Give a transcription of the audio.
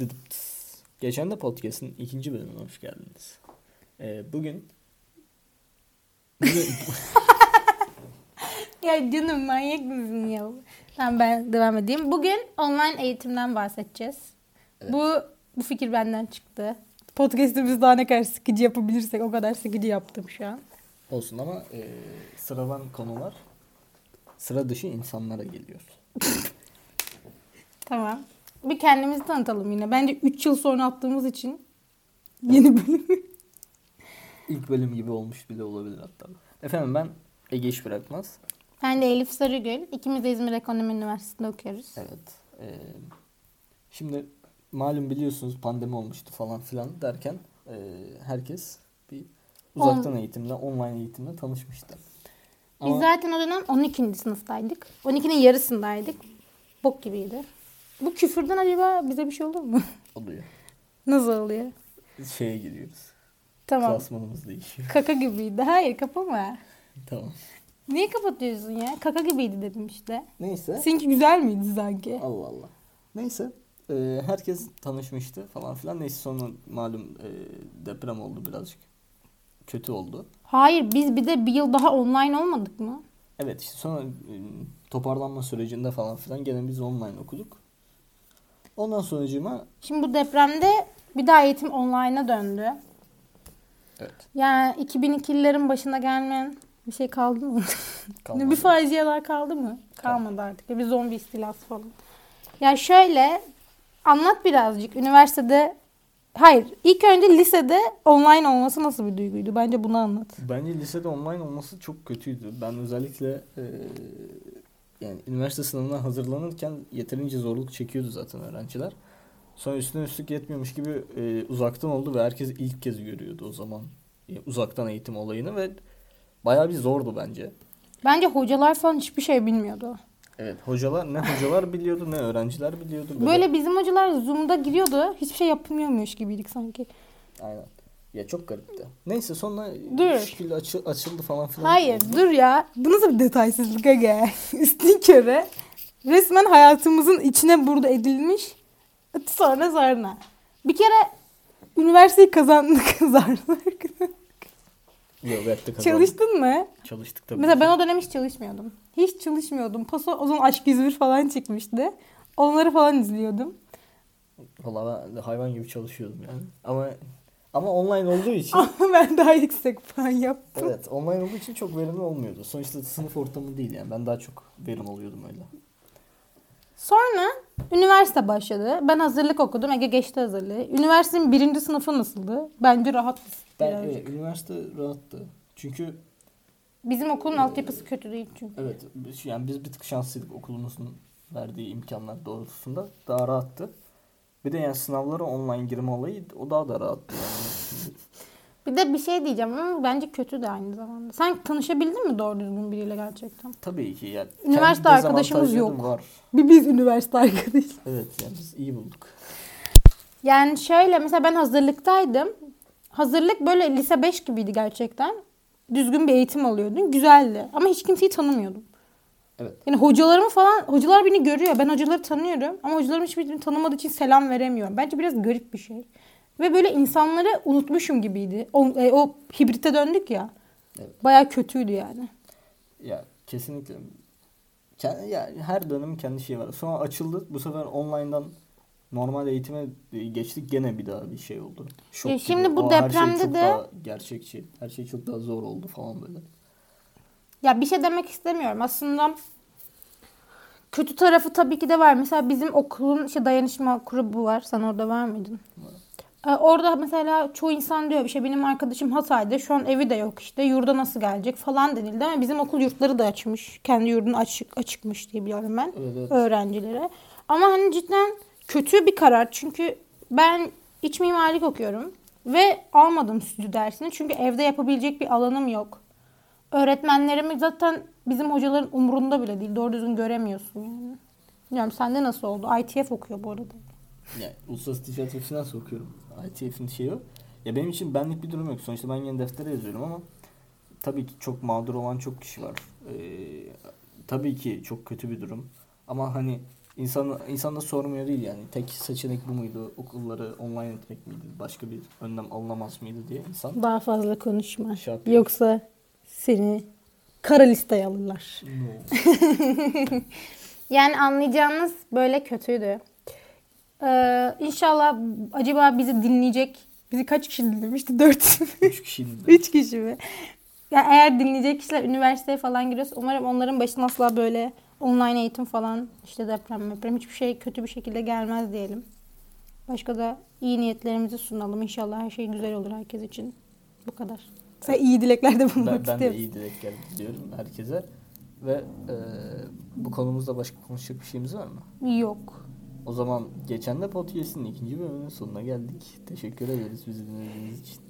Dıdıp tıs. Geçen de podcast'in ikinci bölümüne hoş geldiniz. Ee, bugün... bugün Ya canım manyak mısın ya? Tamam ben devam edeyim. Bugün online eğitimden bahsedeceğiz. Bu bu fikir benden çıktı. Podcast'imizi daha ne kadar sıkıcı yapabilirsek o kadar sıkıcı yaptım şu an. olsun ama e, sıradan konular sıra dışı insanlara geliyor. Tamam. Bir kendimizi tanıtalım yine. Bence 3 yıl sonra attığımız için yeni bölüm. İlk bölüm gibi olmuş bile olabilir hatta. Efendim ben Ege İş Bırakmaz. Ben de Elif Sarıgül. İkimiz de İzmir Ekonomi Üniversitesi'nde okuyoruz. Evet. e, şimdi malum biliyorsunuz pandemi olmuştu falan filan derken e, herkes bir uzaktan eğitimle, online eğitimle tanışmıştı. Biz zaten o dönem 12. sınıftaydık. 12'nin yarısındaydık. Bok gibiydi. Bu küfürden acaba bize bir şey olur mu? oluyor. Nasıl oluyor? Şeye giriyoruz. Tamam. Klasmanımız değişiyor. Kaka gibiydi. Hayır kapama. tamam. Niye kapatıyorsun ya? Kaka gibiydi dedim işte. Neyse. Seninki güzel miydi sanki? Allah Allah. Neyse. e, herkes tanışmıştı falan filan. Neyse sonra malum e, deprem oldu birazcık. Kötü oldu. Hayır biz bir de bir yıl daha online olmadık mı? Evet işte sonra e, toparlanma sürecinde falan filan gene biz online okuduk. Ondan sonucuma Şimdi bu depremde bir daha eğitim online'a döndü. evet. Yani 2002'lilerin başına gelmeyen bir şey kaldı mı? kalmadı. bir facialar kaldı mı? Kalmadı artık. Bir zombi istilası falan. Ya şöyle anlat birazcık. Üniversitede Hayır, ilk önce lisede online olması nasıl bir duyguydu? Bence bunu anlat. Bence lisede online olması çok kötüydü. Ben özellikle e, yani üniversite sınavına hazırlanırken yeterince zorluk çekiyordu zaten öğrenciler. Sonra üstüne üstlük yetmiyormuş gibi e, uzaktan oldu ve herkes ilk kez görüyordu o zaman e, uzaktan eğitim olayını ve bayağı bir zordu bence. Bence hocalar falan hiçbir şey bilmiyordu. Evet hocalar ne hocalar biliyordu ne öğrenciler biliyordu. Böyle bizim hocalar Zoom'da giriyordu. Hiçbir şey yapmıyormuş gibiydik sanki. Aynen. Ya çok garipti. Neyse sonra Dur. bir şekilde açı- açıldı falan filan. Hayır dur ya. Bu nasıl bir detaysızlık aga? Üstün kere resmen hayatımızın içine burada edilmiş. Sonra zarna. Bir kere üniversiteyi kazandık zarna. Yok, yaptık kazandık. Çalıştın mı? Çalıştık tabii. Mesela ki. ben o dönem hiç çalışmıyordum. Hiç çalışmıyordum. Paso o zaman Aşk 101 falan çıkmıştı. Onları falan izliyordum. Valla ben de hayvan gibi çalışıyordum yani. Ama ama online olduğu için Ama ben daha yüksek puan yaptım. evet online olduğu için çok verimli olmuyordu. Sonuçta sınıf ortamı değil yani. Ben daha çok verim alıyordum öyle. Sonra üniversite başladı. Ben hazırlık okudum. Ege geçti hazırlığı. Üniversitenin birinci sınıfı nasıldı? Bence rahat. Ben birazcık. evet, üniversite rahattı. Çünkü Bizim okulun altyapısı kötü değil çünkü. evet biz- yani biz bir tık şanslıydık okulumuzun verdiği imkanlar doğrultusunda daha rahattı. Bir de yani sınavlara online girme olayı o daha da rahattı. Yani. Bir de bir şey diyeceğim ama bence kötü de aynı zamanda. Sen tanışabildin mi doğru düzgün biriyle gerçekten? Tabii ki yani. Üniversite kendi arkadaşımız dezavantajları yok. Var. Bir biz üniversite arkadaş. Evet yani biz iyi bulduk. Yani şöyle mesela ben hazırlıktaydım. Hazırlık böyle lise 5 gibiydi gerçekten. Düzgün bir eğitim alıyordun. Güzeldi. Ama hiç kimseyi tanımıyordum. Evet. Yani hocalarımı falan, hocalar beni görüyor. Ben hocaları tanıyorum ama hocalarım hiçbirini tanımadığı için selam veremiyorum. Bence biraz garip bir şey. Ve böyle insanları unutmuşum gibiydi. O, e, o hibrite döndük ya. Evet. Baya kötüydü yani. Ya kesinlikle. Ke- ya her dönemin kendi şeyi var. Sonra açıldı. Bu sefer online'dan normal eğitime e, geçtik. Gene bir daha bir şey oldu. Şok Ya gibi. şimdi bu Aa, her şey depremde çok de- daha gerçekçi. Her şey çok daha zor oldu falan böyle. Ya bir şey demek istemiyorum. Aslında kötü tarafı tabii ki de var. Mesela bizim okulun işte dayanışma grubu var. Sen orada var mıydın? Ee, Orada mesela çoğu insan diyor bir şey benim arkadaşım Hatay'da şu an evi de yok işte yurda nasıl gelecek falan denildi ama bizim okul yurtları da açmış. Kendi yurdunu açık açıkmış diye biliyorum ben Evet, evet. öğrencilere. Ama hani cidden kötü bir karar çünkü ben iç mimarlık okuyorum ve almadım stüdyo dersini çünkü evde yapabilecek bir alanım yok. Öğretmenlerimi zaten bizim hocaların umurunda bile değil. Doğru düzgün göremiyorsun yani. Bilmiyorum sende nasıl oldu? ITF okuyor bu arada. Yani uluslararası ticaret hepsini nasıl okuyorum? ITF'in şeyi o. Ya benim için benlik bir durum yok. Sonuçta ben yine deftere yazıyorum ama tabii ki çok mağdur olan çok kişi var. Ee, tabii ki çok kötü bir durum. Ama hani İnsan, insan da sormuyor değil yani. Tek seçenek bu muydu? Okulları online etmek miydi? Başka bir önlem alınamaz mıydı diye insan. Daha fazla konuşma. Şap. Yoksa seni kara listeye alırlar. No. Yani anlayacağınız böyle kötüydü. Ee, inşallah acaba bizi dinleyecek. Bizi kaç kişi dinlemişti? Dört. Üç kişiydi. de. Üç kişi mi? Ya eğer dinleyecek kişiler üniversiteye falan giriyorsa umarım onların başına asla böyle online eğitim falan işte deprem deprem hiçbir şey kötü bir şekilde gelmez diyelim. Başka da iyi niyetlerimizi sunalım. İnşallah her şey güzel olur herkes için. Bu kadar. Sen iyi dileklerde bulunmak Ben, ben de istiyorum. iyi dilek geldi diyorum herkese. Ve e, bu konumuzda başka konuşacak bir şeyimiz var mı? Yok. O zaman geçen de podcast'in ikinci bölümünün sonuna geldik. Teşekkür ederiz bizi dinlediğiniz için.